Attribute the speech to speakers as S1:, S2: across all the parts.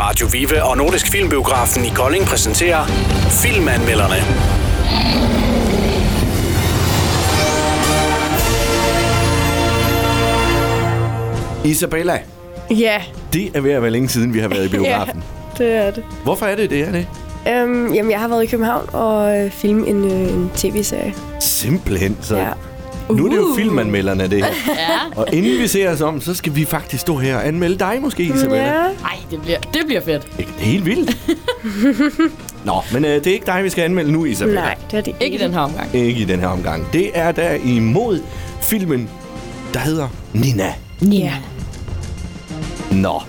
S1: Radio Vive og Nordisk Filmbiografen i Kolding præsenterer Filmanmelderne.
S2: Isabella,
S3: Ja,
S2: det er ved at være længe siden, vi har været i biografen.
S3: det er det.
S2: Hvorfor er det det, er det?
S3: Øhm, jamen, jeg har været i København og øh, filmet en, øh, en tv-serie.
S2: Simpelthen så.
S3: Ja. Uh.
S2: Nu er det jo filmanmelderne, det her. ja. Og inden vi ser os om, så skal vi faktisk stå her og anmelde dig måske, Isabella.
S3: Ja.
S4: Ej, det bliver, det bliver fedt.
S2: Ikke- Det er helt vildt. Nå, men øh, det er ikke dig, vi skal anmelde nu, Isabella.
S3: Nej, det er det
S4: Ikke i den her omgang.
S2: Ikke i den her omgang. Det er der imod filmen, der hedder Nina.
S3: Ja.
S2: Nå.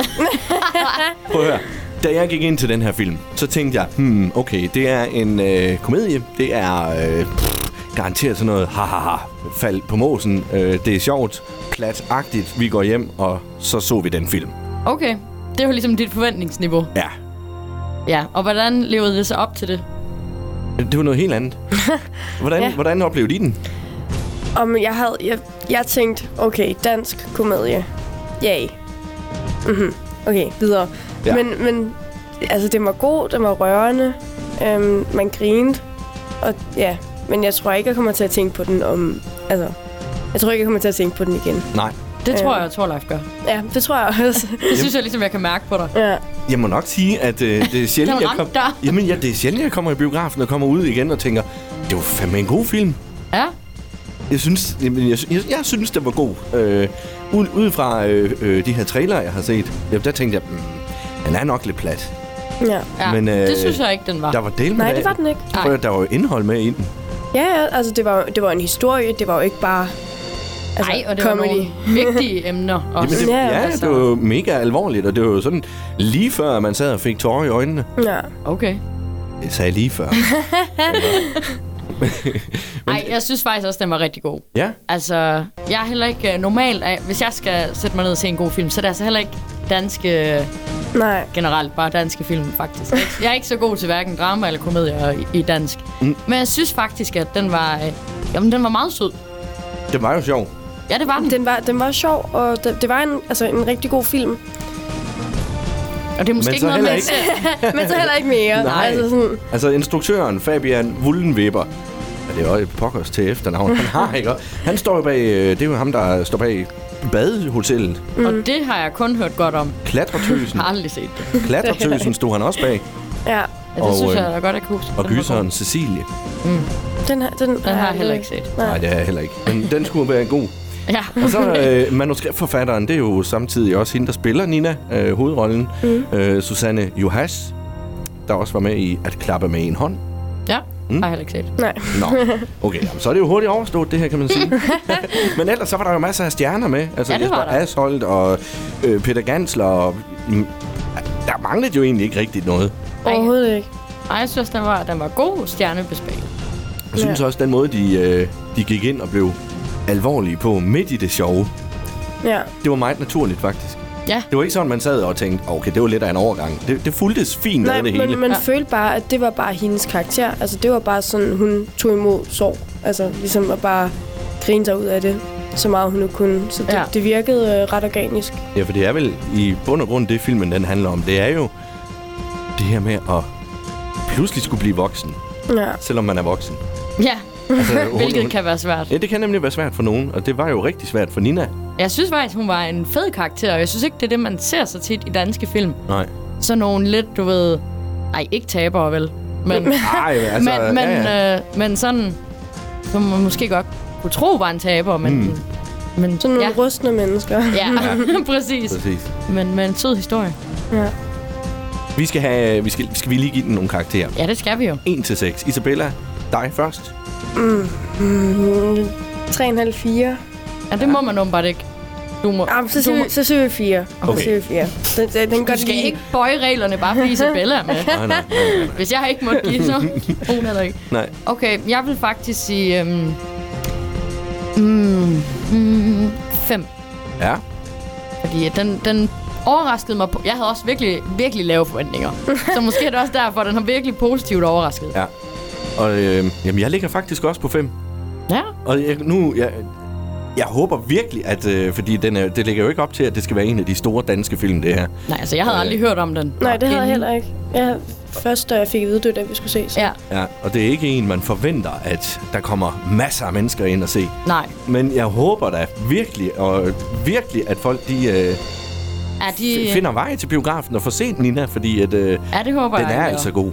S2: Prøv at høre. Da jeg gik ind til den her film, så tænkte jeg, hmm, okay, det er en øh, komedie. Det er øh, pff, garanteret sådan noget, ha, ha, ha, fald på måsen. Øh, det er sjovt, platagtigt. Vi går hjem, og så så vi den film.
S4: Okay, det er jo ligesom dit forventningsniveau.
S2: Ja,
S4: Ja, og hvordan levede det så op til det?
S2: det var noget helt andet. Hvordan, ja.
S3: Ja.
S2: hvordan oplevede I den?
S3: Om jeg havde... Jeg, jeg tænkte, okay, dansk komedie. Yay. Mhm. Okay, videre.
S2: Ja.
S3: Ja. Men, men altså, det var god, det var rørende. Øhm, man grinede. Og ja, men jeg tror ikke, jeg kommer til at tænke på den om... Altså, jeg tror ikke, jeg kommer til at tænke på den igen.
S2: Nej.
S4: Det
S3: Øh.
S4: tror jeg, at Torleif gør.
S3: Ja, det tror jeg også.
S4: Det synes jeg ligesom, jeg kan mærke på dig.
S3: ja.
S2: Jeg må nok sige, at øh, det er sjældent,
S4: Den
S2: jeg kom...
S4: ramte dig.
S2: Jamen, ja, det er sjældent, jeg kommer i biografen og kommer ud igen og tænker, det var fandme en god film.
S4: Ja,
S2: Jeg synes, jamen, jeg, sy- jeg, jeg synes, den var god. Øh, ud, ud fra øh, øh, de her trailer, jeg har set, jamen, der tænkte jeg, mm, den er nok lidt plat.
S3: ja.
S4: ja.
S2: Men,
S4: Men,
S2: øh,
S4: øh, det synes jeg ikke, den var.
S2: Der var del med
S3: Nej, det var den ikke.
S2: Prøv, at- der var jo indhold med i den.
S3: Ja, ja, altså det var, det var en historie, det var jo ikke bare... Altså,
S4: Nej, og det var nogle vigtige emner også.
S2: Jamen, det,
S3: Ja,
S2: ja,
S4: altså.
S2: det var jo mega alvorligt, og det var jo sådan lige før, man sad og fik tårer i øjnene.
S3: Ja.
S4: Okay.
S2: Det sagde jeg lige før.
S4: Nej, jeg synes faktisk også, den var rigtig god.
S2: ja,
S4: Altså, jeg er heller ikke øh, normalt... af- Hvis jeg skal sætte mig ned og se en god film, så er det altså heller ikke danske... øh,
S3: Nej.
S4: Generelt bare danske film, faktisk. Jeg er ikke- Jeg er ikke så god til hverken drama eller komedier i- i dansk.
S2: Mm.
S4: Men jeg synes faktisk, at den var... øh, Jamen, den var meget sød.
S2: det var jo sjovt.
S4: Ja, det var den.
S3: Den var, den var sjov, og det, det var en, altså, en rigtig god film.
S4: Og det er måske
S2: Men
S4: ikke
S2: så
S4: noget,
S2: heller
S4: man
S2: ikke.
S4: ser.
S3: Men så heller ikke mere.
S2: Nej.
S3: Altså, sådan,
S2: Altså instruktøren Fabian Wullenweber, ja, det er jo et pokkers til efternavn, han har, ikke? Han står jo bag, øh, det er jo ham, der står bag badehotellet.
S4: Og det har jeg kun hørt godt om.
S2: Klatretøsen.
S4: Jeg har aldrig set det.
S2: Klatretøsen stod han også bag.
S3: ja,
S4: Ja, det
S2: Og,
S4: og, synes
S2: øh,
S4: jeg da godt, jeg kunne huske.
S2: Og
S4: Den var
S2: gyseren
S4: god.
S2: Cecilie.
S3: den, her- den,
S4: Den har jeg heller ikke set.
S2: Nej, det er jeg heller ikke. Men den skulle være god.
S4: Ja.
S2: Og så øh, manuskriptforfatteren, det er jo samtidig også hende, der spiller Nina, øh, hovedrollen.
S4: Mhm.
S2: Mm. Øh, Susanne Johas, der også var med i At klappe med en hånd.
S4: ja, mm. har jeg heller ikke set.
S3: Nej.
S2: Nå, okay, jamen, så er det jo hurtigt overstået, det her, kan man sige. Men ellers så var der jo masser af stjerner med. Altså
S4: Ja, det
S2: Jesper
S4: var der.
S2: Asholdt og øh, Peter Gansler og... Mm, der manglede jo egentlig ikke rigtigt noget.
S3: Overhovedet ikke.
S4: Ej, jeg synes, den var, den var god stjernebespækket.
S2: Jeg synes også, den måde, de, øh, de gik ind og blev alvorlige på midt i det sjove,
S3: Ja.
S2: det var meget naturligt faktisk.
S4: Ja,
S2: Det var ikke sådan, man sad og tænkte, okay, det var lidt af en overgang. Det, det fuldtes fint
S3: Nej,
S2: med det hele.
S3: men man
S4: Ja.
S3: ja. følte bare, at det var bare hendes karakter. Altså, det var bare sådan, hun tog imod sorg. Altså, ligesom at bare grine sig ud af det, så meget hun nu kunne. Så det,
S4: Ja.
S3: ja. det virkede øh, ret organisk.
S2: Ja, for det er vel i bund og grund det, filmen den handler om. Det er jo det her med at pludselig skulle blive voksen,
S3: Ja.
S2: selvom man er voksen.
S4: ja.
S2: Altså, hun-
S4: hvilket
S2: hun-
S4: kan være svært.
S2: Ja, det kan nemlig være svært for nogen, og det var jo rigtig svært for Nina.
S4: Jeg synes faktisk, hun var en fed karakter, og jeg synes ikke, det er det, man ser så tit i danske film.
S2: Nej.
S4: Så nogle lidt, du ved... Ej, ikke tabere, vel? Men,
S2: Nej, altså...
S4: altså, men, men, ja, ja. Øh, men sådan, som man måske godt kunne tro var en taber, men... Mm. men
S3: Sådan nogle
S4: ja.
S3: ja. rustne mennesker.
S4: Ja, ja. præcis.
S2: Præcis.
S4: Men med en sød historie.
S3: Ja.
S2: Vi skal, have, vi skal, skal vi lige give den nogle karakterer.
S4: Ja, det skal vi jo.
S2: 1-6. Isabella, dig først.
S3: 3,5, 4.
S4: Ja, det må man åbenbart ikke. Du må,
S3: Ah, men så
S4: du,
S3: siger,
S4: må,
S3: vi, så siger vi 4.
S2: Okay.
S3: Så siger vi 4. Den, den, den
S4: du
S3: godt
S4: skal
S3: lide.
S4: ikke bøje reglerne, bare fordi Isabella er med.
S2: Nej, nej, nej,
S4: Hvis jeg ikke måtte give, så hun heller ikke.
S2: nej.
S4: Okay, jeg vil faktisk sige... Øhm, mm, mm, fem.
S2: Ja,
S4: Fordi at den, den overraskede mig. På, jeg havde også virkelig, virkelig lave forventninger. Så måske er det også derfor, at den har virkelig positivt overrasket.
S2: ja. Og øh, jamen, jeg ligger faktisk også på 5.
S4: Ja.
S2: Og jeg, nu, jeg, Jeg håber virkelig, at... Øh, fordi den er, det ligger jo ikke op til, at det skal være en af de store danske film, det her.
S4: Nej, altså, jeg havde
S2: Øh.
S4: aldrig hørt om den.
S3: Nej, det havde jeg
S4: inden.
S3: heller ikke. Jeg først, da jeg fik at vide, det var den, vi skulle se. Så.
S4: Ja,
S2: Ja, og det er ikke en, man forventer, at der kommer masser af mennesker ind og se.
S4: nej.
S2: Men jeg håber da virkelig, og virkelig, at folk de, øh,
S4: Er de... øh,
S2: f- finder vej til biografen og får set Nina, fordi at, øh,
S4: Ja, det håber
S2: den
S4: jeg.
S2: er
S4: jeg
S2: altså god.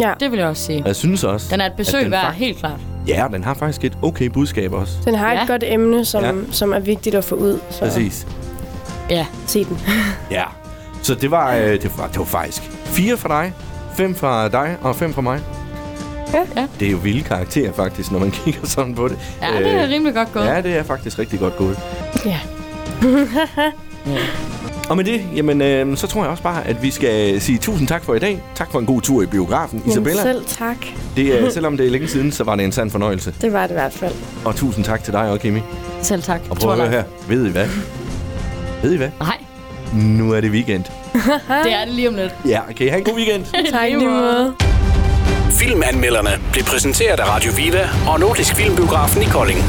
S3: ja.
S4: Det vil jeg også sige.
S2: Og Jeg synes også...
S4: Den er et
S2: at
S4: besøg
S2: den
S4: værd,
S2: fak-
S4: helt klart.
S2: Ja, og den har faktisk et okay budskab også.
S3: Den har ja.
S4: Ja.
S3: et godt emne, som,
S2: Ja.
S3: ja. som er vigtigt at få ud. Så
S2: Præcis.
S4: Ja.
S3: se den.
S2: Ja. Så det var, øh, det var, det var faktisk fire fra dig, fem fra dig og fem fra mig.
S3: Ja.
S4: Ja.
S2: Det er jo vilde karakterer faktisk, når man kigger sådan på det. Øh,
S4: Ja, det er rimelig godt gået.
S2: Ja, det er faktisk rigtig godt gået.
S4: Ja.
S2: Og med det, jamen, øh, så tror jeg også bare, at vi skal sige tusind tak for i dag. Tak for en god tur i biografen, Isabella.
S3: Jamen, selv tak.
S2: Det, er, selvom det er længe siden, så var det en sand fornøjelse.
S3: Det var det i hvert fald.
S2: Og tusind tak til dig også, Kimi.
S4: Selv tak.
S2: Og prøv at høre her. Ved I hvad? Ved I hvad?
S4: Nej,
S2: Nu er det weekend.
S4: det er det lige om lidt.
S2: Ja, kan I have en god weekend?
S3: Tak i lige måde.
S1: Filmanmelderne blev præsenteret af Radio Viva og Nordisk Filmbiografen i Kolding.